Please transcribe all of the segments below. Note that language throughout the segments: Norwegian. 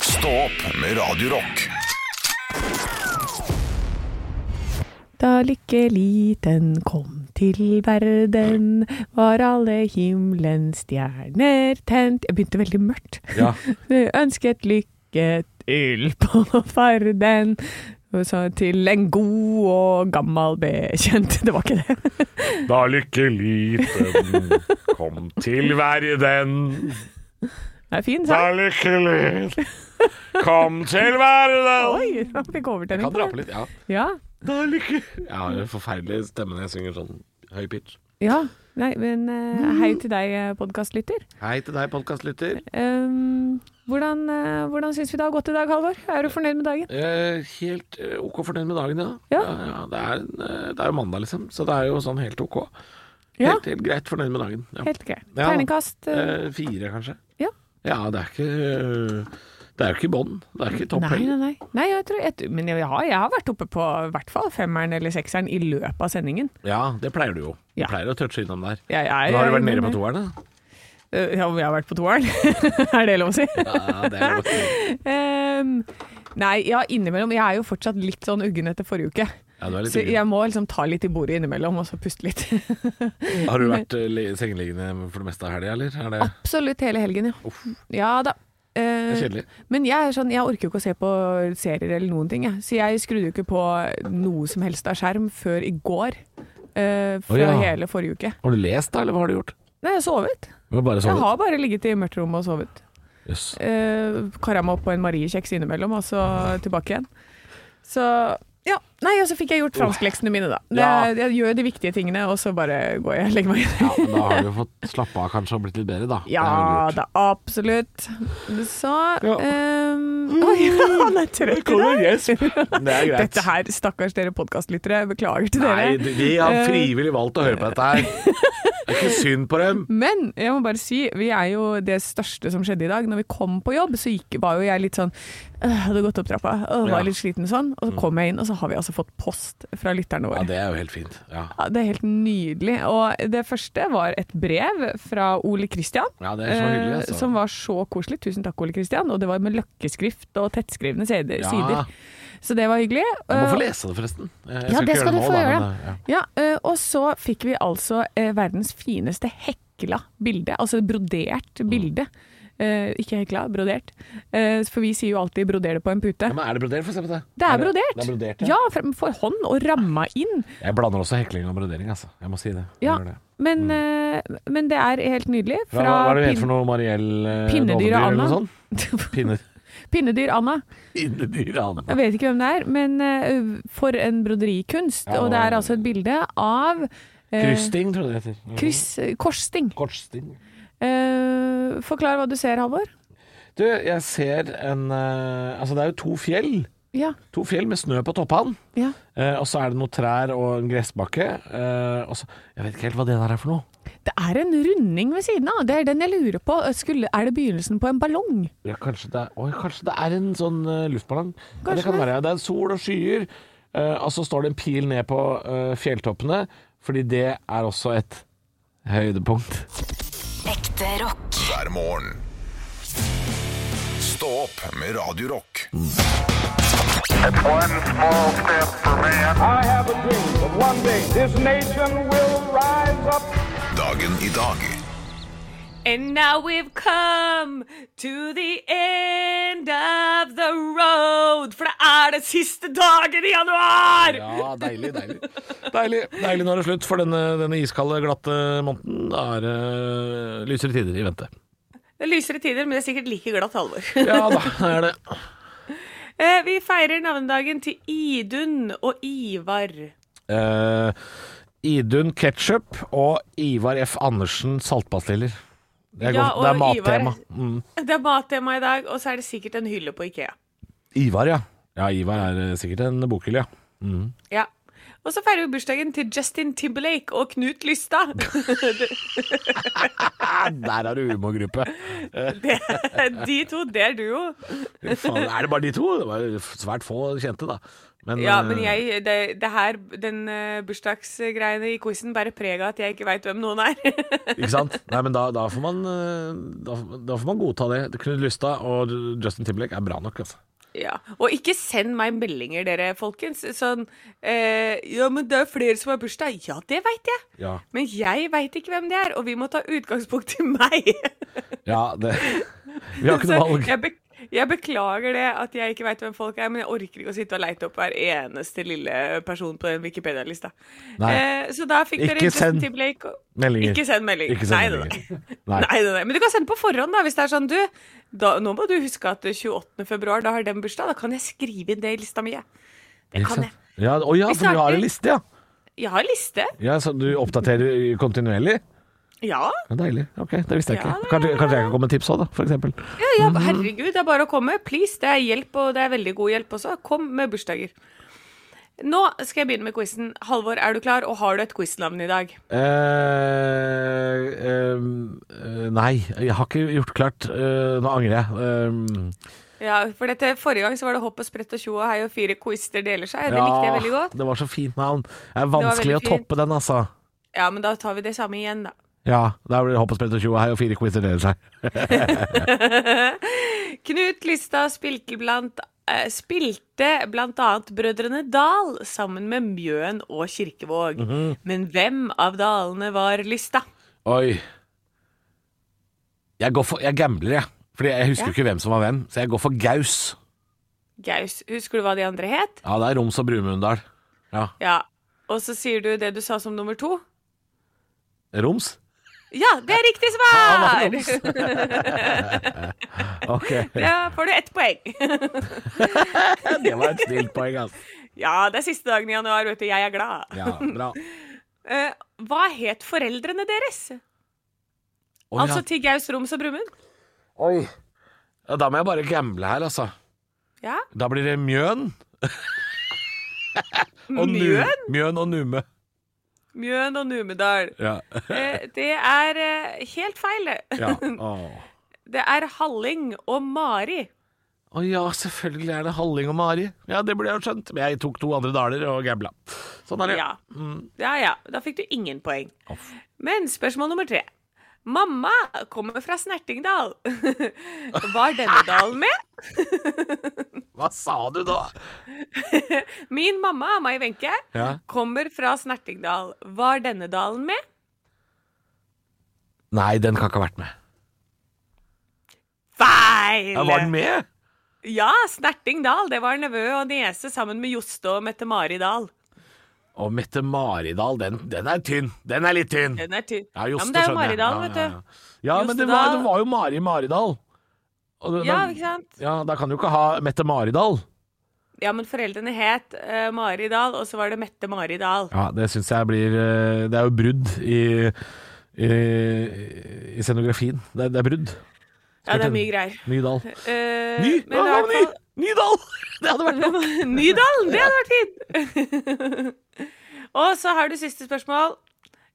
Stå opp med Radio Rock. Da lykke liten kom til verden, var alle himmelens stjerner tent Jeg begynte veldig mørkt. Ja. Ønsket lykke til på farden. Og så til en god og gammel bekjent. Det var ikke det. Da lykke liten kom til verden. Det er fin sang. lykke liten kom til verden. Oi, han fikk overtenning. Kan på dra det. på litt, ja. Ja. Da lykke Jeg har en forferdelig stemme når jeg synger sånn høy pitch. ja. Nei, men Mm. eh, hei til deg, podkastlytter. Hei til deg, podkastlytter. Um, hvordan eh, hvordan syns vi det har gått i dag, Halvor? Er du fornøyd med dagen? Eh, helt eh, ok fornøyd med dagen, ja. Ja. ja det, er, en, eh, det er jo mandag, liksom, så det er jo sånn helt ok. Ja. Helt, helt greit fornøyd med dagen. Ja. Helt greit. Ja. Terningkast. eh, Eh, fire, kanskje. Ja. ja, det er ikke eh, Det er jo ikke i bånn. Det er ikke topp Nei, nei, heller. nei. nei jeg tror, jeg, men jeg har, jeg har vært oppe på i hvert fall femmeren eller sekseren i løpet av sendingen. Ja, det pleier du jo. Ja. Du pleier å touche innom der. Jeg, jeg, Nå har du vært nede på toeren, da. Eh, Ja, jeg har vært på toeren. er det lov å si? Ja, det er jo- Em, nei, ja, innimellom. Jeg er jo fortsatt litt sånn uggen etter forrige uke. ja, du er litt Så jeg må liksom ta litt i bordet innimellom og så puste litt. ugen. Har du vært eh, le- sengeliggende for det meste av helga, eller? Er det Absolutt hele helgen, ja. Uff. Ja da. Ah, Eh, det er kjedelig? men jeg er sånn, jeg orker jo ikke å se på serier eller noen ting, jeg. Så jeg skrudde jo ikke på noe som helst av skjerm før i går. eh, fra ja. hele forrige uke. Har du lest, da, eller hva har du gjort? Nei, jeg har sovet. Du har bare Jeg sovet? har bare ligget i mørkt rom og sovet. Jøss. Eh, Kara meg opp på en Marie-kjeks innimellom, og så Ah. tilbake igjen. Så ja. Nei, og så fikk jeg gjort franskleksene mine, da. Det, Ja. Jeg gjør de viktige tingene, og så bare går jeg og legger meg. Ja, men da har du jo fått slappe av kanskje og blitt litt bedre, da. Det er Ja jo lurt. da, absolutt. Så Ja. Mm. ehm, Oi, han er trøtt i dag. Det er greit. Dette her, stakkars dere podkastlyttere, beklager til dere. Nei, de- de har Eh. frivillig valgt å høre på dette her. Det er ikke synd på dem. Men jeg må bare si, vi er jo det største som skjedde i dag. Når vi kom på jobb, så gikk, var jo jeg litt sånn øh, Hadde gått opp trappa, øh, Ja. Mm. var litt sliten og sånn. Og så kom jeg inn, og så har vi altså fått post fra lytterne Ja, våre. det er jo helt fint. Ja, Ja, det er helt nydelig. Og det første var et brev fra Ole Kristian. ja det er så hyggelig. Altså. Eh, som var så koselig. Tusen takk, Ole Kristian. Og det var med løkkeskrift og tettskrevne sider. Ja. Så det var hyggelig. Jeg må Eh, få lese det, forresten. Jeg Ja, det ikke skal gjøre du nå, få da, gjøre. men, ja. Ja, eh, og så fikk vi altså eh, verdens fineste hekla bilde, altså Mm. brodert bilde. Eh, ikke hekla, brodert. Eh, for vi sier jo alltid 'broder det på en pute'. Ja, men er det brodert? Få se på det. Det er brodert! Det er brodert ja. Ja, for, for hånd og ramma inn. Jeg blander også hekling og brodering, altså. Jeg må si det. Jeg Ja. gjør det. Men, eh, men det er helt nydelig. Mm. Hva, hva, hva er det du pin- heter for noe? Mariell eh, Pinnedyr Dovendyr og eller noe Anna. sånt? Pinne, Pinnedyr Anna. pinnedyr og Anna. Jeg vet ikke hvem det er, men eh, for en broderikunst. Ja, og det er og- altså et bilde av eh, Krysting, tror jeg det heter. kryss- korssting. Kortsting. Eh, forklar hva du ser, Halvor. Du, jeg ser en eh, Altså, det er jo to fjell. Ja. To fjell med snø på toppene. ja. Eh, og så er det noen trær og en gressbakke. Eh, og så, jeg vet ikke helt hva det der er for noe. Det er en runding ved siden av. Det er den jeg lurer på. Skulle, er det begynnelsen på en ballong? Ja, kanskje, det er, oi, kanskje det er en sånn eh, luftballong. Ja, Kanskje det, kan det. være, det er sol og skyer, eh, og så står det en pil ned på eh, fjelltoppene, fordi det er også et høydepunkt. Ekte rock. hver morgen. Stå opp med Radio Rock. One small step for man. I have a dream that one day this nation will rise up. Dagen i dag. And now we've come to the end of the road. For det er det siste dagen i januar! Ja, deilig, deilig. Deilig, deilig når det er slutt for denne, denne iskalde, glatte måneden. Da er det eh, lysere tider i vente. Det er lysere tider, men det er sikkert like glatt alvor. Ja da, er det. Eh, Vi feirer navnedagen til Idun og Ivar. Eh, Idun Ketchup og Ivar F. Andersen saltpastiller. Det er, Ja, godt- det er og Ivar- mattema. Mm. Det er mattema i dag, og så er det sikkert en hylle på Ikea. Ivar, ja. Ja, Ivar er eh, sikkert en bokhylle, ja. Ja. Og så feirer vi bursdagen til Justin Timberlake og Knut Lystad. Ah, der har du humorgruppe. Det, de to, det er duo. Fy faen, Er det bare de to? Det var jo svært få kjente, da. Men, Ja, men eh, jeg, det, det her, den eh, bursdagsgreiene i quizen bærer preg av at jeg ikke veit hvem noen er. eh, Ikke sant? Nei, men da, da, får man, eh, da, da får man godta det. Knut Lystad og Justin Timberlake er bra nok, altså. Ja, Og ikke send meg meldinger, dere, folkens. Sånn eh, 'Ja, men det er flere som har bursdag.' Ja, det veit jeg. Ja. Men jeg veit ikke hvem det er, og vi må ta utgangspunkt i meg. Ja, det Vi har ikke Så noe valg. jeg, bek jeg beklager det at jeg ikke veit hvem folk er, men jeg orker ikke å sitte og leite opp hver eneste lille person på den Wikipedia-lista. Nei. Eh, så da fikk dere Ikke send Justin Timberlake. og- Meldinger. Ikke send melding. Ikke send nei, meldinger. Nei. Nei. Nei, nei, nei. Men du kan sende på forhånd, da, hvis det er sånn, du. Da, nå må du huske at 28. februar, da har den bursdag. Da kan jeg skrive inn det i lista mi. jeg. Det kan jeg. Ja, å ja, Vi for du har snakker- en liste, ja. Jeg har liste. ja så du oppdaterer kontinuerlig? Ja. Ja, deilig. Ok, det visste jeg Ja, ikke. Kanskje, kanskje jeg kan komme med tips òg, da, for eksempel. ja, ja. Mhm. Herregud, det er bare å komme. Please. Det er hjelp, og det er veldig god hjelp også. Kom med bursdager. Nå skal jeg begynne med quizen. Halvor, er du klar, og har du et quiznavn i dag? Eh, eh, nei, jeg har ikke gjort klart. Eh, nå angrer jeg. Eh, Ja, for dette Forrige gang så var det hopp og sprett og tjo og hei og fire quister deler seg. Det ja, likte jeg veldig godt. Det var så fint navn. Det er var vanskelig å veldig fint. toppe den, altså. Ja, men da tar vi det samme igjen, da. Ja, der blir det hopp og sprett og tjo og hei og fire quizer deler seg. Knut Lystad spilte blant, eh, spilte blant annet Brødrene Dal sammen med Mjøen og Kirkevåg. Mhm. Men hvem av dalene var Lystad? Oi. Jeg går for Jeg gambler, jeg. Fordi jeg husker Ja. ikke hvem som var hvem. Så jeg går for Gaus. Gaus, husker du hva de andre het? Ja, det er Roms og Brumunddal. Ja. Ja. Og så sier du det du sa som nummer to. Roms? Ja, det er riktig Ja, svar! det var Ok. Da får du ett poeng. Det var et snilt poeng, altså. Ja, det er siste dagen i januar, vet du. Jeg er glad. Ja, bra. Eh, hva het foreldrene deres? Oi, Altså ja. til Gaus, Roms og Brumund? Oi. Ja, da må jeg bare gamble her, altså. Ja. Da blir det Mjøen. og Nu- Mjøen? Mjøen og Nume. Mjøen og Numedal. Ja. Eh, det er eh, helt feil. det. ja. Åh. Det er Halling og Mari. Å ja, selvfølgelig er det Halling og Mari. Ja, det burde jeg jo skjønt. Men jeg tok to andre daler og gambla. Sånn er det. Ja. ja ja, da fikk du ingen poeng. Men spørsmål nummer tre. Mamma kommer fra Snertingdal. Var denne dalen med? Hva sa du da? Min mamma, Mai Wenche, Ja. kommer fra Snertingdal. Var denne dalen med? Nei, den kan ikke ha vært med. Feil! Ja, var den med? Ja, Snertingdal. Det var nevø og niese sammen med Joste og Mette-Mari Dahl. Og Mette-Maridal, den, den er tynn. Den er litt tynn. Den er tynn. Ja, Joste, men det er jo skjønner jeg. Maridal, Ja, vet du. ja, ja. Ja, men det var, Jostedal. det var jo Mari Maridal. Og det- Ja, da- ikke sant? Ja, da kan du ikke ha Mette-Maridal. Ja, men foreldrene het eh, Mari Dahl, og så var det Mette Mari Dahl. Ja, det syns jeg blir eh, Det er jo brudd i, i, i scenografien. Det, er- det er brudd. Ja, det er mye greier. Nydal. Eh, Ny! men det er Ja, i ny! hvert fall- Nydal! Det hadde vært noe. Nydalen! Det hadde vært fint! og så har du siste spørsmål.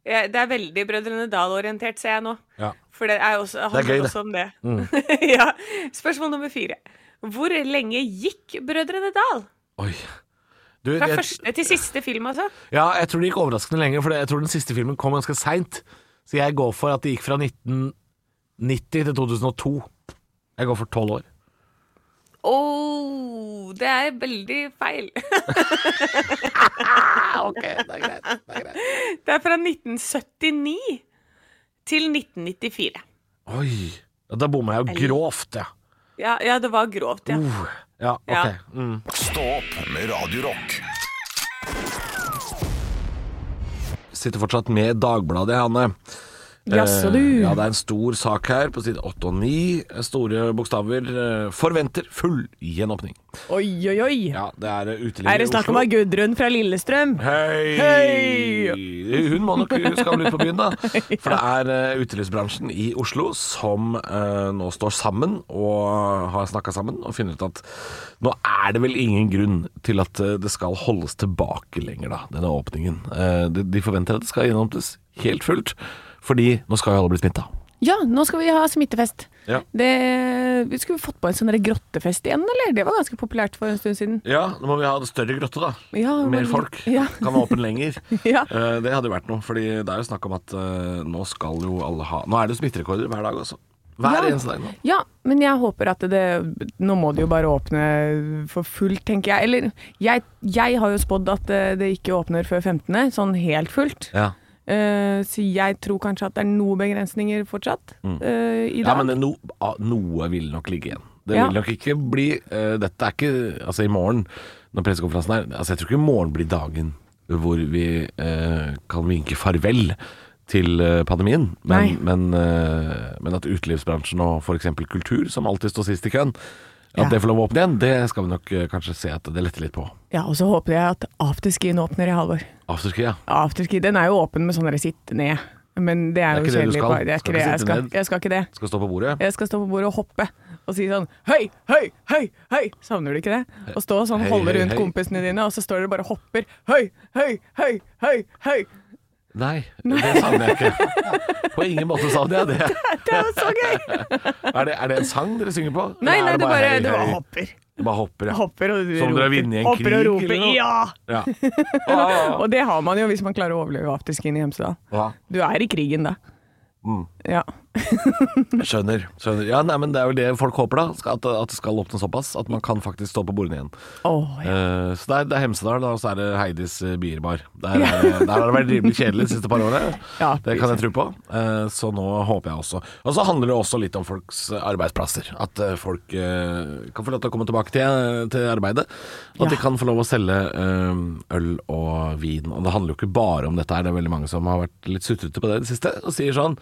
Eh, Det er veldig Brødrene Dal-orientert, ser jeg nå. Ja. For det er også, handler gøy, det. Mm. også om det. ja. Spørsmål nummer fire. Hvor lenge gikk Brødrene Dal? Oi. Du, Fra jeg, første til siste film, altså? ja, jeg tror det gikk overraskende lenge, for jeg tror den siste filmen kom ganske seint. Så jeg går for at det gikk fra 1990 til 2002. Jeg går for tolv år. Åh, det er veldig feil. ok, det er greit. Det er fra 1979 til 1994. Oi. Ja, Da bomma jeg jo grovt, ja. Ja, ja det var grovt, ja. Uh, ja, Ja. ok. Mm. Stå opp med Radio Rock. sitter fortsatt med Dagbladet, Hanne. Jaså, du. Eh, Ja, det er en stor sak her på side 8 og 9. Store bokstaver. eh, Forventer full gjenåpning. Oi, oi, oi. Ja, det er eh, uteliggere Er det snakk om Oslo. ei Gudrun fra Lillestrøm? Hei! Hun må nok hun skal vel ut på byen, da. For det er eh, utelivsbransjen i Oslo som eh, nå står sammen og har snakka sammen og funnet ut at nå er det vel ingen grunn til at eh, det skal holdes tilbake lenger, da, denne åpningen. Eh, de, de forventer at det skal gjennomtes helt fullt, fordi nå skal jo alle bli smitta. Ja, nå skal vi ha smittefest. Ja. Det, vi skulle fått på en sånn der grottefest igjen, eller? Det var ganske populært for en stund siden. Ja, nå må vi ha en større grotte, da. Ja, Mer men- folk. ja. Kan være åpen lenger. Ja. Eh, det hadde jo vært noe, Fordi det er jo snakk om at eh, nå skal jo alle ha Nå er det jo smitterekorder hver dag, altså. Hver Ja. eneste dag nå. Ja, men jeg håper at det Nå må det jo bare åpne for fullt, tenker jeg. Eller jeg, jeg har jo spådd at eh, det ikke åpner før 15., sånn helt fullt. Ja, Eh, så jeg tror kanskje at det er noen begrensninger fortsatt eh, i dag. Mm. men det no, ah, noe vil nok ligge igjen. Det Ja. vil nok ikke bli eh, Dette er ikke Altså, i morgen, når pressekonferansen er Altså, jeg tror ikke i morgen blir dagen hvor vi eh, kan vinke farvel til eh, pandemien. Men, men, eh, men at utelivsbransjen og f.eks. kultur, som alltid står sist i køen, at Ja. det får lov å åpne igjen, det skal vi nok eh, kanskje se at det letter litt på. Ja, og så håper jeg at afterskien åpner i halvår. Afterski, ja. Afterski, den er jo åpen med sånn der sitt ned. Men det er, Det er ikke det jo du kjedelig. skal. bare- Det er ikke Skal ikke det jeg sitte skal. ned. Jeg skal ikke det. Skal stå på bordet. Jeg skal stå på bordet og hoppe og si sånn Høy, høy, høy, høy! Savner du ikke det? Og stå og sånn, Hei, holde hei, rundt hei. kompisene dine, og så står dere bare og hopper. Høy, høy, høy, høy, høy! Nei, det savner jeg ikke. På ingen måte savner jeg det. Det er jo så gøy! Er det, er det en sang dere synger på? Eller Nei, er nei, du bare, hei, du bare hei? hopper. Du bare hopper, ja. Hopper og roper. Som dere har vunnet i en hopper og krig, roper. eller noe? Ja! Ja. Ah, Og det har man jo hvis man klarer å overleve afterskien i Hemsedal. ja. Du er i krigen da. Mm. Ja. Skjønner. skjønner. Ja, nei, men Det er vel det folk håper, da. skal- At, at det skal åpne såpass at man kan faktisk stå på bordene igjen. Åh, ja. Eh, så det er, det er Hemsedal, da, og så er det Heidis eh, bierbar. Der, er- der har det vært rimelig kjedelig de siste par årene. Ja, det kan jeg tro på. Eh, så nå håper jeg også. Og så handler det også litt om folks eh, arbeidsplasser. At eh, folk eh, kan få lov til å komme tilbake til, til arbeidet. Og at Ja. de kan få lov å selge eh, øl og vin. Og det handler jo ikke bare om dette her, det er veldig mange som har vært litt sutrete på det i det siste, og sier sånn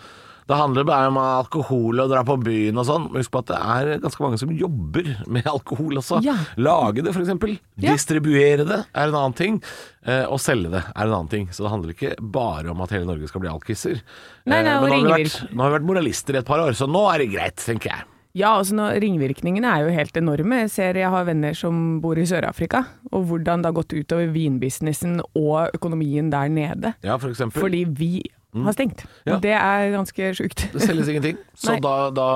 det handler bare om alkohol og dra på byen og sånn. Men Husk på at det er ganske mange som jobber med alkohol også. Ja. Lage det, f.eks. Ja. Distribuere det er en annen ting. Eh, og selge det er en annen ting. Så det handler ikke bare om at hele Norge skal bli alkiser. Nei, nei, Eh, og men nå har, vi vært, ringvirk- nå har vi vært moralister i et par år, så nå er det greit, tenker jeg. Ja, altså nå, Ringvirkningene er jo helt enorme. Jeg ser jeg har venner som bor i Sør-Afrika, og hvordan det har gått utover vinbusinessen og økonomien der nede. Ja, for eksempel. Fordi vi har stengt. Mm. Ja. Og det er ganske sjukt. Det selges ingenting. Så Nei. da, da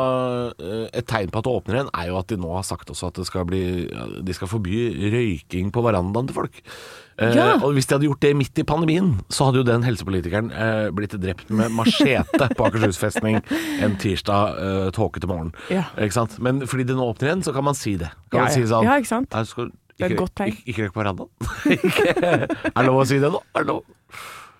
eh, Et tegn på at det åpner igjen, er jo at de nå har sagt også at det skal bli, de skal forby røyking på verandaen til folk. Eh, Ja. Og hvis de hadde gjort det midt i pandemien, så hadde jo den helsepolitikeren eh, blitt drept med machete på Akershus festning en tirsdag eh, tåkete morgen. Ja. Ikke sant? Men fordi det nå åpner igjen, så kan man si det. Kan Ja, man si ja. sånn Ja, ikke sant? «Nei, du skal er et ikke, godt tegn. ikke, ikke røyke på verandaen. Ikke- er det lov å si det nå? Er det lov?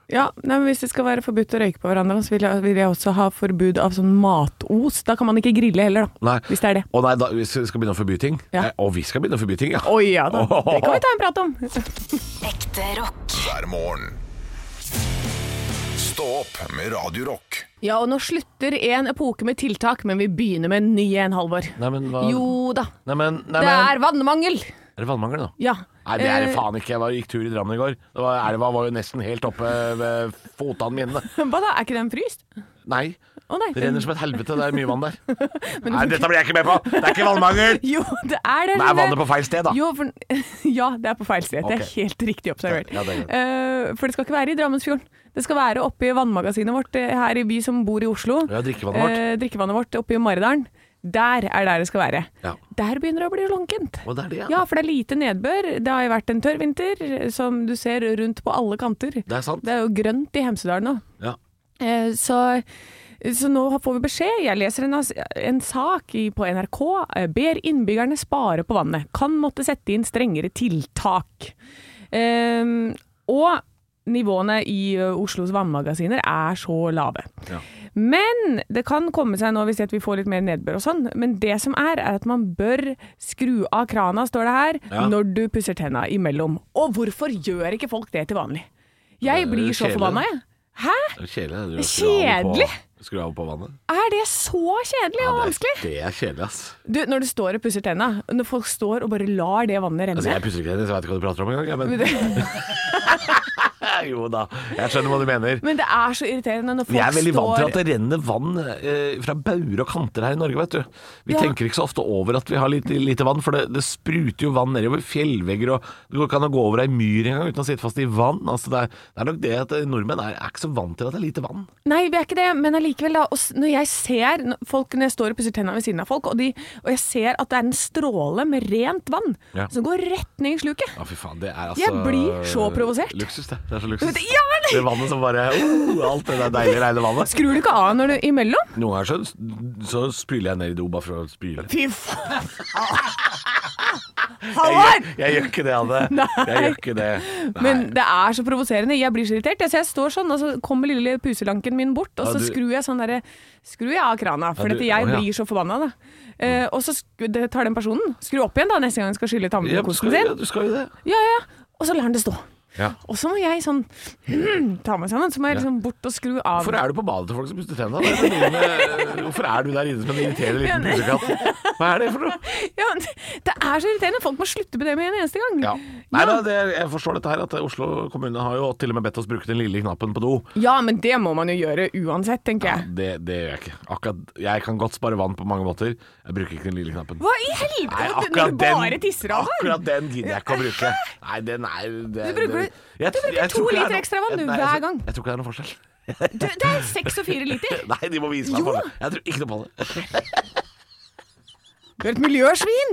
Ja, nei, men Hvis det skal være forbudt å røyke på hverandre, så vil jeg, vil jeg også ha forbud av sånn matos. Da kan man ikke grille heller, da. Nei. Hvis det er det. Å nei, da, vi skal skal begynne å forby ting. Ja. Eh, Og vi skal begynne å forby ting, ja. Oi, ja da. Det kan vi ta en prat om. Ekte rock. hver morgen. Stå opp med Radio Rock. Ja, og nå slutter en epoke med tiltak, men vi begynner med en ny en, Halvor. Nei, men hva Jo da. Nei, men, nei, Det men er vannmangel. Er det vannmangel, da? Ja. Nei, det er det Eh, faen ikke. Jeg var, gikk tur i Drammen i går. Det var, elva var jo nesten helt oppe ved fotene mine. Hva da, er ikke den fryst? Nei. Å nei. Det renner som et helvete. Det er mye vann der. Nei, dette blir jeg ikke med på! Det er ikke vannmangel! Jo, det er det. Det er vannet Rune. på feil sted, da. Jo, for, ja, det er på feil sted. Det er Ok. helt riktig observert. Ja, det er Eh, for det skal ikke være i Drammensfjorden. Det skal være oppe i vannmagasinet vårt eh, her i vi som bor i Oslo. Ja, drikkevannet vårt. Eh, drikkevannet vårt oppe i Maridalen. Der er der det skal være. Ja. Der begynner det å bli lunkent. Og det er det, ja. Ja, for det er lite nedbør. Det har jo vært en tørr vinter, eh, som du ser rundt på alle kanter. Det er sant. Det er jo grønt i Hemsedal nå. Ja. Eh, Så, så nå får vi beskjed. Jeg leser en, en sak i, på NRK. eh, Ber innbyggerne spare på vannet. Kan måtte sette inn strengere tiltak. Ehm, og nivåene i eh, Oslos vannmagasiner er så lave. Ja. Men det kan komme seg nå hvis at vi får litt mer nedbør og sånn. Men det som er, er at man bør skru av krana, står det her, Ja. når du pusser tenna imellom. Og hvorfor gjør ikke folk det til vanlig? Jeg Det er blir så kjedelig, forbanna, da. jeg. Hæ? Det er Kjedelig. det du Kjedelig? Skru av på- Skru av på vannet. Er det så kjedelig og vanskelig? Det er kjedelig, ass. Du, når du står og pusser tenna, når folk står og bare lar det vannet Altså, renne jeg pusser ikke tennis, jeg vet ikke hva du prater om engang. jeg, Men... jo da, jeg skjønner hva du mener. Men det er så irriterende når folk Vi er veldig vant til står at det renner vann eh, fra bauger og kanter her i Norge, vet du. Vi Ja. tenker ikke så ofte over at vi har lite, lite vann, for det, det spruter jo vann nedover fjellvegger, og du kan jo gå over ei myr engang uten å sitte fast i vann. Altså, det, er, det er nok det at eh, nordmenn er, er ikke så vant til at det er lite vann. Nei, vi er ikke det, men allikevel, da. og s- Når jeg ser n- folk når jeg står og pusser tenna ved siden av folk, og, de, og jeg ser at det er en stråle med rent vann Ja. som går rett ned i sluket Ja, fy faen, det er altså Jeg blir så provosert. Luksus, det. Det er så luksus. Det- ja, eller? Det vannet som bare oh, Alt det der deilige reine vannet. Skrur du ikke av når du imellom? Noen ganger så, så spyler jeg ned i do bare for å spyle. Fy faen! Jeg, Halvard! jeg gjør ikke det, Anne. Jeg gjør ikke det. Nei. Men det er så provoserende. Jeg blir så irritert. Jeg, så jeg står sånn, og så kommer lille puselanken min bort, og Ja, så du- skrur jeg sånn derre Skrur jeg av krana, for Ja, du- at jeg å, ja. Mm. blir så forbanna, da. Eh, og så sk det tar den personen. Skru opp igjen da neste gang han skal skylle Ja, du tannkosten skal, ja, sin. du skal jo det. Ja, ja. Og så lar han det stå. Ja. Og så må jeg sånn ta meg sammen. Så må jeg liksom bort og skru av. Hvorfor er du på badet til folk som puster tenna? Det er så mye med- Hvorfor er du der inne som en irriterende liten pusekatt? Hva er det for noe? Ja, men det det er så irriterende. Folk må slutte med det med en eneste gang. Ja. Nei, da, det, jeg forstår dette her, at Oslo kommune har jo til og med bedt oss bruke den lille knappen på do. Ja, men det må man jo gjøre uansett, tenker jeg. Det, det gjør jeg ikke. Akkurat, jeg kan godt spare vann på mange måter. Jeg bruker ikke den lille knappen. Hva i helvete? Når du bare tisser av her? akkurat den gidder jeg ikke å bruke. Nei, den er det, Du bruker- det- jeg- du bruker jeg tror to ikke det er liter noe- ekstra vann, du, Nei, jeg hver tror- gang. Jeg tror ikke det er noen forskjell. Du, det er seks og fire liter. Nei, de må vise meg Jo. forskjell. Jeg tror ikke noe på det. Du er et miljøsvin!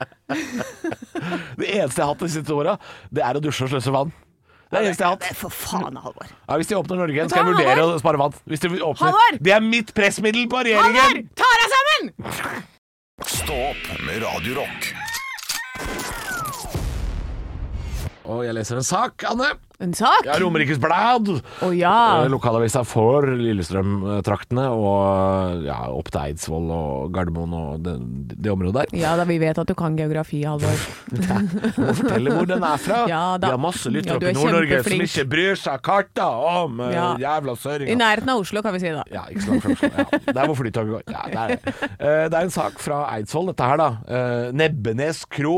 Det eneste jeg har hatt de siste åra, det er å dusje og sløse vann. Det er det eneste jeg har hatt. For faen, Halvor. Ja, hvis de åpner Norge igjen, skal jeg Ta, vurdere Halvor! å spare vann. Hvis de åpner. Halvor! Det er mitt pressmiddel på Halvor, regjeringen! ta deg sammen! Stå opp med Radio Rock. Og jeg leser en sak, Anne. En sak? Ja, Romerikes Blad. Å ja. Eh, Lokalavisa for Lillestrøm-traktene og eh, ja, opp til Eidsvoll og Gardermoen og det, det området der. Ja da, vi vet at du kan geografi, Halvor. Må fortelle hvor den er fra. Ja, da. Vi har masse lyttere Ja, du oppe er i Nord-Norge som kjempeflink. ikke bryr seg karta om eh, Ja. jævla søringa. I nærheten av Oslo, kan vi si da. Ja, ikke så langt fra Oslo. Ja. Der hvor flytoget går. Ja, der er det. Eh, det er en sak fra Eidsvoll, dette her, da. Eh, Nebbenes kro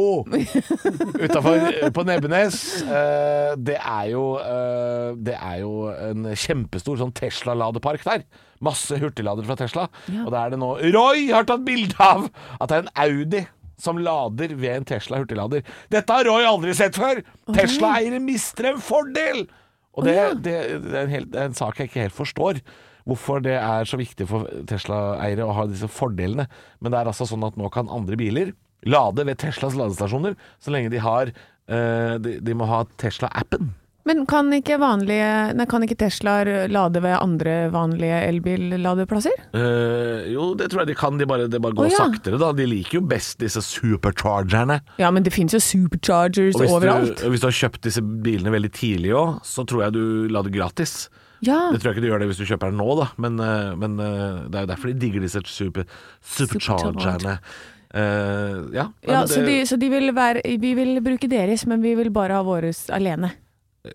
utafor på Nebbenes. Eh, det er jo eh, Det er jo en kjempestor sånn Tesla-ladepark der. Masse hurtiglader fra Tesla. Og der er det nå Roy har tatt bilde av at det er en Audi som lader ved en Tesla hurtiglader. Dette har Roy aldri sett før! Tesla-eiere mister en fordel! Og det, det, det, er en helt, det er en sak jeg ikke helt forstår. Hvorfor det er så viktig for Tesla-eiere å ha disse fordelene. Men det er altså sånn at nå kan andre biler lade ved Teslas ladestasjoner så lenge de har eh, de, de må ha Tesla-appen. Men kan ikke, vanlige, nei, kan ikke Teslaer lade ved andre vanlige elbilladeplasser? Eh, jo, det tror jeg de kan. De bare, det bare Å, går ja. saktere, da. De liker jo best disse superchargerne. Ja, men det finnes jo superchargers Og hvis, overalt. du, og hvis du har kjøpt disse bilene veldig tidlig òg, så tror jeg du lader gratis. Ja. Det tror jeg ikke du gjør det hvis du kjøper den nå, da. Men, eh, men eh, det er jo derfor de digger disse super, superchargerne. Eh, ja, nei, Ja, men så de, så de vil være, vi vil bruke deres, men vi vil bare ha våres alene.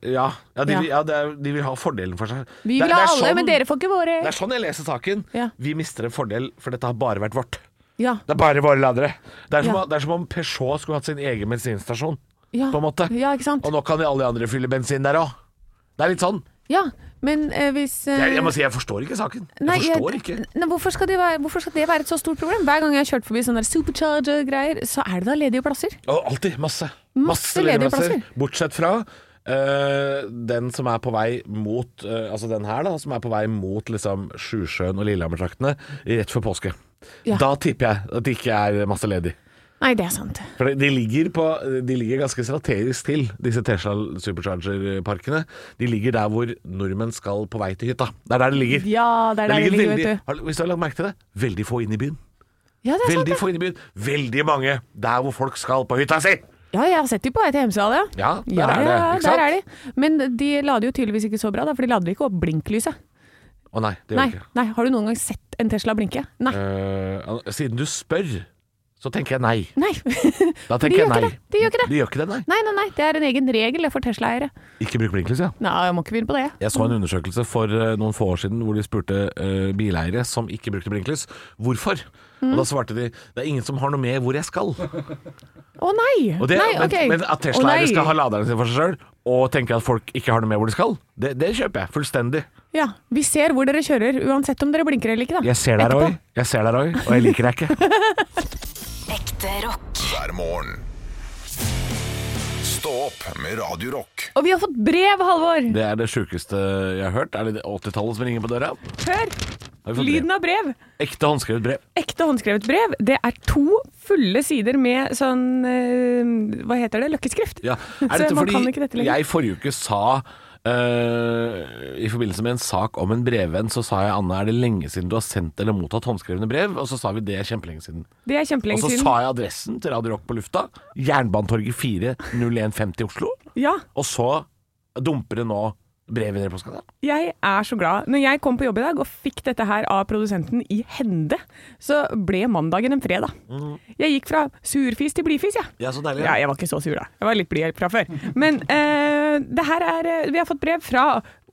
ja, ja, de, Ja. ja det er, de vil ha fordelen for seg. Vi Det- vil det ha er alle, sånn- men dere får ikke våre. Det er sånn jeg leser saken. Ja. Vi mister en fordel, for dette har bare vært vårt. Ja, Det er bare våre ladere. Det er som, Ja. det er som om Peugeot skulle hatt sin egen bensinstasjon, ja. på en måte. Ja, ikke sant? Og nå kan de alle de andre fylle bensin der òg. Det er litt sånn. Ja, men eh, hvis eh, Jeg, jeg må si jeg forstår ikke saken. Jeg nei, forstår ikke. Nei, hvorfor, skal det være, hvorfor skal det være et så stort problem? Hver gang jeg har kjørt forbi sånne der supercharger-greier, så er det da ledige plasser. Ja, alltid. Masse. Masse ledige plasser. Bortsett fra eh, den som er på vei mot eh, Altså den her, da, som er på vei mot liksom Sjusjøen og Lillehammer-traktene rett før påske. Ja. Da tipper jeg at det ikke er masse ledig. Nei, det er sant. For de ligger, på, de ligger ganske strategisk til, disse Tesla Supercharger-parkene. De ligger der hvor nordmenn skal på vei til hytta. Det er der de ligger. Ja, det er der det ligger, veldig, vet du. har- Hvis du har lagt merke til det, veldig få inne i byen. Ja, det er sant. Veldig det. få inne i byen. Veldig mange der hvor folk skal på hytta si! Ja, jeg har sett de på vei til Hemsedal, ja. Ja, der ja, er det. ja, der Ikke sant? er de. Men de lader jo tydeligvis ikke så bra, da, for de lader ikke opp blinklyset. Å nei, det gjør Nei, det ikke. nei, har du noen gang sett en Tesla blinke? Nei. Eh, siden du spør, så tenker jeg nei. Nei. Da de tenker jeg gjør ikke nei. det. De gjør ikke det. De gjør ikke det, nei. Nei, nei, nei. Det er en egen regel det, for Tesla-eiere. Ikke bruk blinklys, ja. Nei, jeg må ikke begynne på det. Jeg så en undersøkelse for eh, noen få år siden hvor de spurte eh, bileiere som ikke brukte blinklys, hvorfor. Mm. Og da svarte de det er ingen som har noe med hvor jeg skal. Og Å nei! det, nei, men, ok. men Å, at nei. Tesla-eiere skal ha laderen sin for seg sjøl, og tenker at folk ikke har noe med hvor de skal, det, det kjøper jeg fullstendig. Ja, vi ser hvor dere kjører, uansett om dere blinker eller ikke, da. Jeg ser deg, Etterpå. Roy. Jeg ser deg, Roy, og jeg liker deg ikke. Ekte rock. hver morgen. Stå opp med Radio Rock. Og vi har fått brev, Halvor! Det er det sjukeste jeg har hørt. Er det det 80-tallet som ringer på døra? Hør! Har vi fått brev? Lyden av brev. Ekte håndskrevet brev. Ekte håndskrevet brev. Det er to fulle sider med sånn eh, Hva heter det? Løkkeskrift. Ja. Er Så dette man fordi kan ikke dette lenger. jeg forrige uke sa eh, I forbindelse med en sak om en brevvenn, så sa jeg Anne, er det lenge siden du har sendt eller mottatt håndskrevne brev? Og så sa vi det er kjempelenge siden. Det er Og kjempelenge så siden. sa jeg adressen til Radio Rock på lufta. Jernbanetorget 4, 0150 Oslo. Ja, Og så dumper det nå brev i dere postkassa. jeg er så glad. Når jeg kom på jobb i dag og fikk dette her av produsenten i hende, så ble mandagen en fredag. Mm. Jeg gikk fra surfis til blidfis, jeg. Ja, så deilig. Ja, jeg var ikke så sur, da. Jeg var litt blid fra før. Men eh, det her er eh, Vi har fått brev fra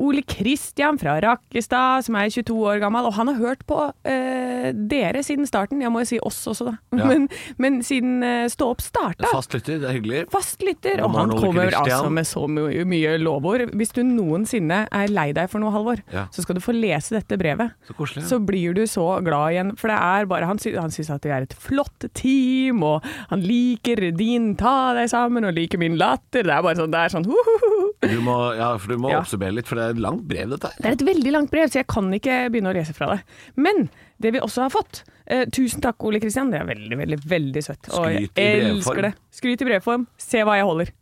Ole Kristian fra Rakkestad, som er 22 år gammel, og han har hørt på eh, dere siden starten. Jeg må jo si oss også, da. Ja. Men, men siden eh, Stå opp starta. Fast lytter, det er hyggelig. Fast lytter, og God han morgen, Ole kommer Kristian. altså med så mye, mye lovord. Hvis du noensinne er lei deg for noe, Halvor, Ja. så skal du få lese dette brevet. Så koselig. Så blir du så glad igjen. For det er bare Han, sy han syns at det er et flott team, og han liker din ta deg sammen, og liker min latter. Det er bare sånn, det er sånn hu, hu, hu. Du må, ja, for du må Ja. oppsummere litt, for det er et langt brev, dette her. Det er et veldig langt brev, så jeg kan ikke begynne å lese fra det. Men det vi også har fått eh, Tusen takk, Ole Kristian. Det er veldig, veldig veldig søtt. Og jeg Skryt i brevform. elsker det. Skryt i brevform. Se hva jeg holder.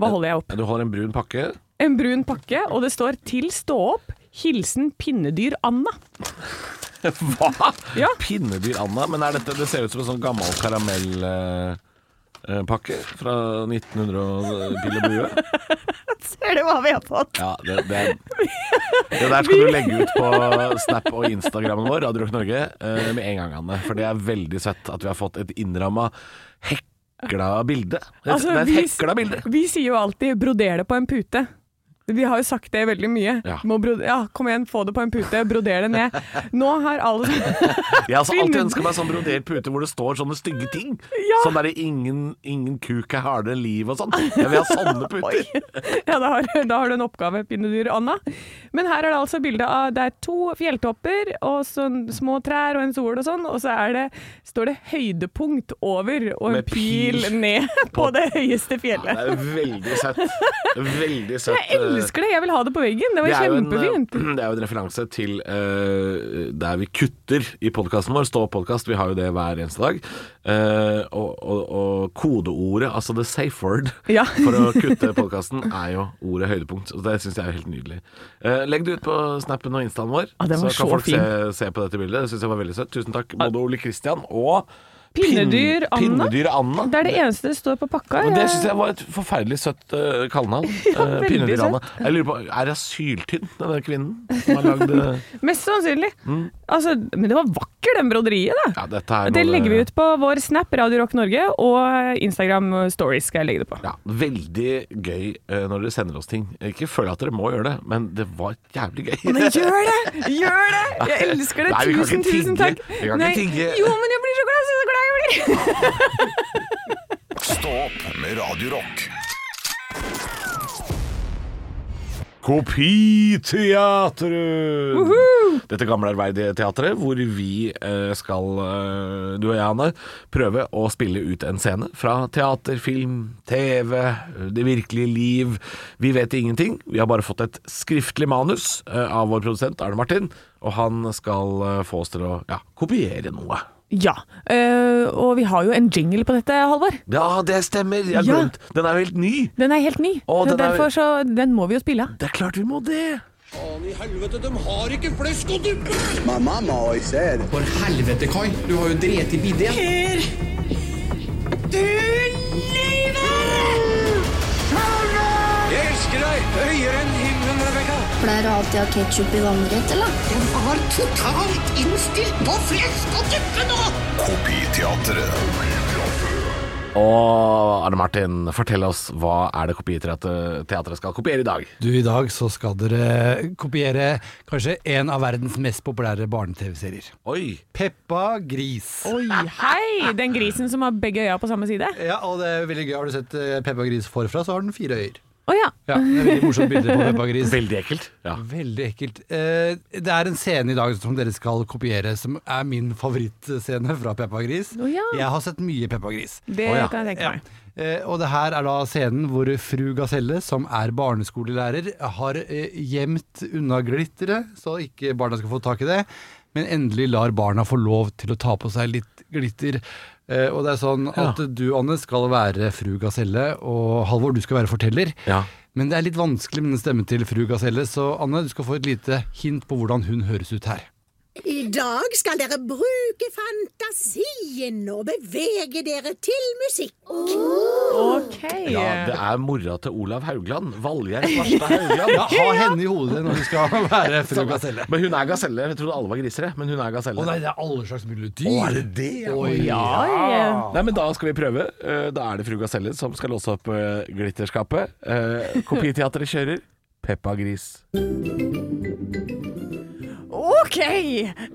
Hva holder jeg opp? Ja, Du holder en brun pakke. En brun pakke, og det står 'Til stå opp'. Hilsen pinnedyr Anna. Hva?! Ja. Pinnedyr Anna? Men er dette, det ser ut som en sånn gammel karamellpakke fra 1900 og Pill og bue. Ser du hva vi har fått? Ja, det, det, det der skal du legge ut på Snap og Instagrammen vår, Radio Rock Norge, eh, med en gang, Anne. For det er veldig søtt at vi har fått et innramma hekla bilde. Det er, Altså, det er et vi- hekla bilde. Vi sier jo alltid 'broder det på en pute'. Vi har jo sagt det veldig mye. Ja. Må bro ja, kom igjen, få det på en pute, broder det ned. Nå har alle Jeg har altså alltid Pinne- ønska meg sånn brodert pute hvor det står sånne stygge ting. Ja. Sånn derre ingen, 'ingen kuk er hardere enn liv' og sånn. Jeg vil ha sånne puter. Ja, da har, da har du en oppgave, pinnedyr Anna. Men her er det altså bilde av Det er to fjelltopper og sånn små trær og en sol og sånn, og så er det, står det 'høydepunkt over' og en Med pil. pil ned på det høyeste fjellet. Det er veldig søtt. Veldig søtt. eh, Jeg elsker det! Jeg vil ha det på veggen. Det var Det er, jo en, kjempefint. eh, det er jo en referanse til eh, der vi kutter i podkasten vår. Stå podkast, vi har jo det hver eneste dag. Eh, og, og, og kodeordet, altså the safe word, Ja. for å kutte podkasten, er jo ordet høydepunkt. Og det syns jeg er helt nydelig. Eh, legg det ut på snappen og instaen vår, Ah, den var så kan så folk se, fin. Ah. se på dette bildet. Det syns jeg var veldig søtt. Tusen takk, både Ole Kristian og pin- Pinnedyr Anna. Pinnedyr Anna. Det er det eneste det står på pakka. Men det Jeg- syns jeg var et forferdelig søtt uh, kallenavn. veldig Pinnedyr søtt. Anna. Jeg lurer på, er det asyltynn, denne kvinnen som har lagd eh, Mest sannsynlig. Altså, men det var vakker, den broderiet, da. Mm. Ja, dette er det noe- legger vi ut på vår Snap, Radio Rock Norge, og Instagram Stories skal jeg legge det på. Ja, Veldig gøy eh, når dere sender oss ting. Ikke føl at dere må gjøre det, men det var jævlig gøy. Men gjør det! Gjør det! Jeg elsker det. Nei, vi kan tusen, ikke tigge. tusen takk. Vi kan ikke Nei. tigge. Jo, men jeg blir så glad, så glad jeg blir. Stå opp med Radio Rock. Kopiteatret! Dette gamle ærverdige teatret hvor vi eh, skal, eh, du og jeg, Anne, prøve å spille ut en scene fra teater, film, TV, det virkelige liv. Vi vet ingenting. Vi har bare fått et skriftlig manus eh, av vår produsent Arne Martin, og han skal eh, få oss til å ja, kopiere noe. Ja, øh, og vi har jo en jingle på dette, Halvor. Ja, det stemmer. Jeg har Ja. glemt. Den er jo helt ny. Den er helt ny, Å, så den er- derfor så den må vi jo spille av. Det er klart vi må det. Faen i helvete, de har ikke flesk å dyppe! My mama always said, For helvete, Kai. Du har jo drept i bidé. Jeg elsker deg høyere enn himmelen, Rebekka. Pleier du alltid å ha ketsjup i vannrett, eller? Kopiteatret. Og Arne Martin, fortell oss hva er det kopiteatret teatret skal kopiere i dag? Du, i dag så skal dere kopiere kanskje en av verdens mest populære barne-TV-serier. Oi! Peppa Gris. Oi, hei! Den grisen som har begge øya på samme side? Ja, og det er veldig gøy. Har du sett eh, Peppa Gris forfra, så har den fire øyer. Å ja. Ja, det er veldig morsomt bilde på Peppa Gris. Veldig ekkelt. Ja. Veldig ekkelt. Eh, Det er en scene i dag som dere skal kopiere, som er min favorittscene fra Peppa Gris. Å ja. Jeg har sett mye Peppa Gris. Det Å ja. kan jeg tenke meg. Eh, Og det her er da scenen hvor fru Gaselle, som er barneskolelærer, har eh, gjemt unna glitteret, så ikke barna skal få tak i det. Men endelig lar barna få lov til å ta på seg litt glitter. Eh, Og det er sånn at du, Anne, skal være fru Gaselle, og Halvor, du skal være forteller. Ja. Men det er litt vanskelig med den stemmen til fru Gaselle, så Anne, du skal få et lite hint på hvordan hun høres ut her. I dag skal dere bruke fantasien og bevege dere til musikk. Ok. ja, det er mora til Olav Haugland. Valgjerd Svarstad Haugland. Ja, ha henne i hodet når du skal være fru Gaselle. Men hun er gaselle. Jeg trodde alle var grisere, men hun er gaselle. Å nei, det er alle slags mulige Å, dyr. er det det? ja? Oi, Oi. Nei, men Da skal vi prøve. Eh, Da er det fru Gaselle som skal låse opp eh, glitterskapet. Eh, Kopiteatret kjører Peppa Gris. Ok,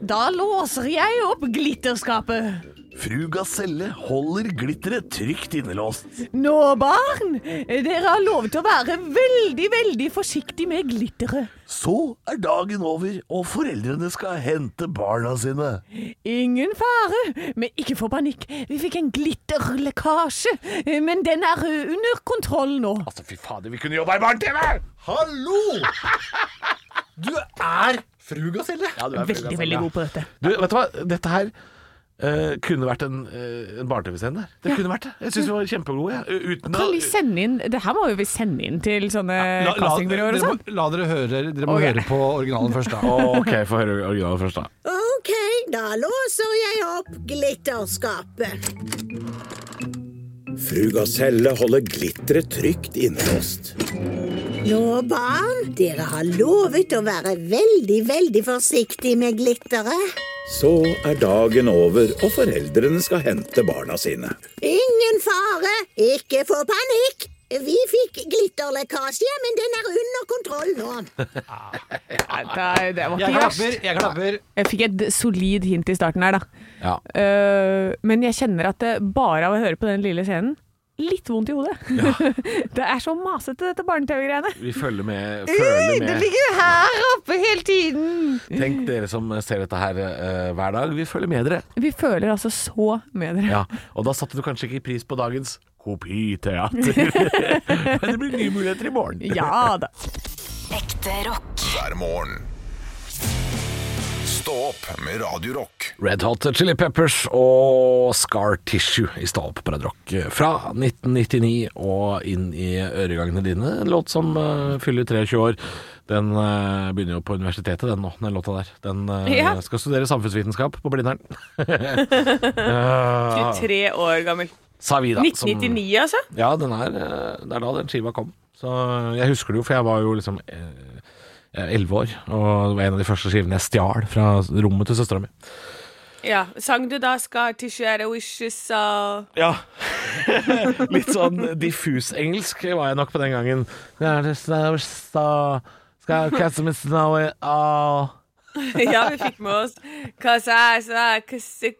da låser jeg opp glitterskapet. Fru Gaselle holder glitteret trygt innelåst. Nå, barn, dere har lov til å være veldig, veldig forsiktig med glitteret. Så er dagen over, og foreldrene skal hente barna sine. Ingen fare, men ikke få panikk. Vi fikk en glitterlekkasje, men den er under kontroll nå. Altså, fy fader, vi kunne jobba i Barne-TV! Hallo! Du er fru Gaselle. Ja, du er fru Veldig, Gaselle. veldig god på dette. Du, vet du hva? Dette her eh, kunne vært en, uh, en barne-TV-scene der. Det kunne vært det. Jeg syns vi var kjempegode. Ja. Uten Kan vi sende inn Det her må jo vi sende inn til sånne castingbyråer og dere altså. sånn. må, la dere høre Dere må Ok. høre på originalen først, da. OK, få høre originalen først, da. Ok, da låser jeg opp glitterskapet. Fru Gaselle holder glitteret trygt innelåst. Nå, barn, dere har lovet å være veldig, veldig forsiktig med glitteret. Så er dagen over, og foreldrene skal hente barna sine. Ingen fare, ikke få panikk. Vi fikk glitterlekkasje, men den er under kontroll nå. Nei, det var Jeg ikke verst. klapper, jeg klapper. Jeg fikk et solid hint i starten her, da. Ja. Eh, men jeg kjenner at det bare av å høre på den lille scenen Litt vondt i hodet. det er så masete, dette barne-TV-greiene. Vi følger med. Følger Det med. ligger her oppe hele tiden! Tenk dere som ser dette her eh, hver dag. Vi følger med dere. Vi føler altså så med dere. Ja, og da satte du kanskje ikke pris på dagens kopiteater. Men det blir nye muligheter i morgen. Ja da. Ekte rock. hver morgen. Stå opp med Radio Rock. Red Hot Chili Peppers og Scar Tissue i Stå opp på Red Rock fra 1999 og inn i øregangene dine. En låt som eh, fyller 23 år. Den eh, begynner jo på universitetet, den nå, den låta der. Den eh, Ja. skal studere samfunnsvitenskap på Blindern. 23 år gammel. Sa vi, da. som- 1999, altså? Ja, den er, eh, det er da den skiva kom. Så eh, jeg husker det jo, for jeg var jo liksom eh, elleve år, og det var en av de første skivene jeg stjal fra rommet til søstera mi. Ja. Sang du da 'Scar Tissue Out of Wishes' og Ja. Litt sånn diffus-engelsk var jeg nok på den gangen. Ja, Ja, vi fikk med oss 'Cause I saw cause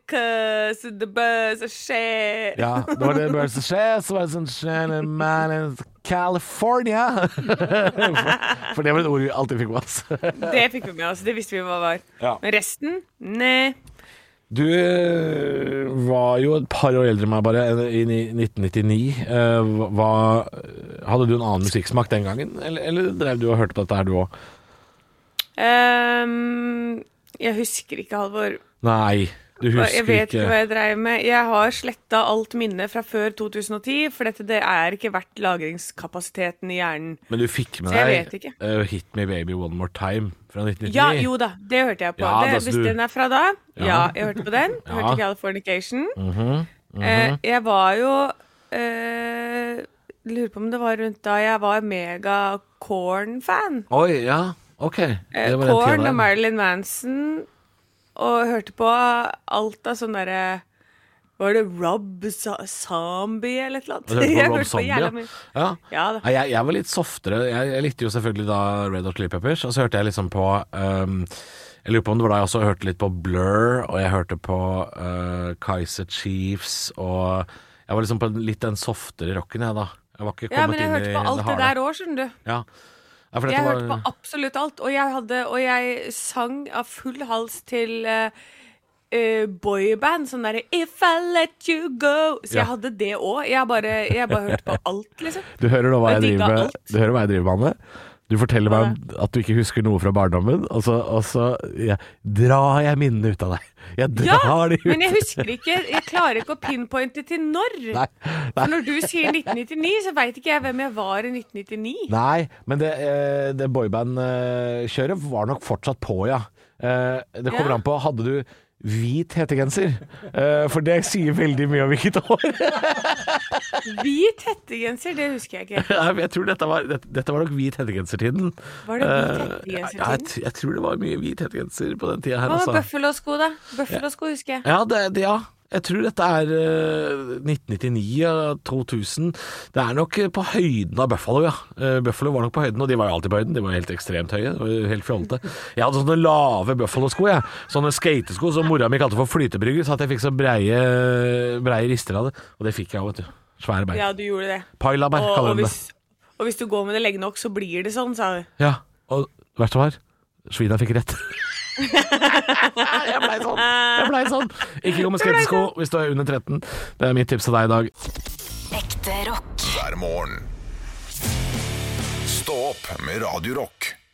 the birds are shit'. det var det Birds of Chess was a shining man in California. For det var et ord vi alltid fikk med oss. Det fikk vi med oss. Det visste vi hva var. Ja. Men resten? Nei. Du eh, var jo et par år eldre enn meg bare, eh, i ni- 1999. Eh, Hva, hadde du en annen musikksmak den gangen, eller, eller drev du og hørte på dette her, du òg? Ehm, jeg husker ikke, Halvor. Nei, du Hva- husker Jeg vet ikke hva ikke. jeg dreiv med. Jeg har sletta alt minne fra før 2010, for dette det er ikke verdt lagringskapasiteten i hjernen. Men du fikk med Så jeg deg vet ikke. eh, 'Hit Me Baby One More Time' fra 1999. Ja, jo da, det hørte jeg på. Ja, da, det, så hvis du- den er fra da. Ja. Ja, jeg hørte på den. Ja. Mhm, Hørte Californication. eh, jeg var jo eh, Lurer på om det var rundt da jeg var mega Corn-fan. Oi, ja. Ok. Eh, Det var den Korn tiden og der. Marilyn Manson, og hørte på alt av sånn derre Var det Rob Sa- Zombie eller et eller annet? Og hørte på Jeg Rob hørte på Zombie, jævla ja. mye. Ja. Ja da. Nei, jeg, jeg var litt softere. Jeg, jeg likte jo selvfølgelig da Red Hot Chili Peppers, og så hørte jeg liksom på ehm, Jeg lurer på om det var da jeg også hørte litt på Blur, og jeg hørte på eh, Kaiser Chiefs, og jeg var liksom på en- litt den softere rocken, jeg da. Jeg var ikke kommet Ja, men jeg inn hørte i på alt det harde. der òg, skjønner du. Ja. Ja, for dette Jeg var- hørte på absolutt alt, og jeg, hadde, og jeg sang av full hals til eh, eh, boyband. Sånn derre If I let you go. Så Ja. jeg hadde det òg. Jeg, bare- jeg bare hørte på alt, liksom. Du hører nå hva Og jeg, jeg digga driver med. alt. Du hører hva jeg driver med, Anne. Du forteller meg om at du ikke husker noe fra barndommen, og så, og så ja, drar jeg minnene ut av deg. Jeg Ja, drar de ut. men jeg husker ikke Jeg klarer ikke å pinpointe til når. Nei, For nei, når du sier 1999, så veit ikke jeg hvem jeg var i 1999. nei, men det, eh, det boyband-kjøret var nok fortsatt på, ja. Eh, Det kommer Ja. an på Hadde du hvit hettegenser? Eh, For det sier veldig mye om hvilket år. Hvit hettegenser, det husker jeg ikke. Nei, men Jeg tror dette var, dette, dette var nok hvit hettegensertiden. Var det hvit Eh, hettegensertiden? ja, jeg, tr- jeg tror det var mye hvit hettegenser på den tida her, Hva med altså. bøffelosko, da? Bøffelosko husker jeg. Ja, det, det, ja. Jeg tror dette er eh, 1999 og 2000. Det er nok eh, på høyden av Buffalo, ja. Eh, Buffalo var nok på høyden, og de var jo alltid på høyden. De var helt ekstremt høye. det var jo Helt fjollete. Jeg hadde sånne lave Buffalo-sko, jeg. Sånne skatesko som mora mi kalte for flytebrygger, så at jeg fikk så breie, breie rister av det. Og det fikk jeg òg, vet du. Svære bein. Ja, du gjorde det. Pailaberg Og, og, kaller de det. hvis, og hvis du går med det lenge nok, så blir det sånn, sa du. Ja. Og verst var, svina fikk rett. jeg blei sånn. Jeg sånn. blei sånn. Ikke gå med skatesko hvis du er under 13. Det er mitt tips til deg i dag. Ekte rock. hver morgen. Stå opp med Radio Rock.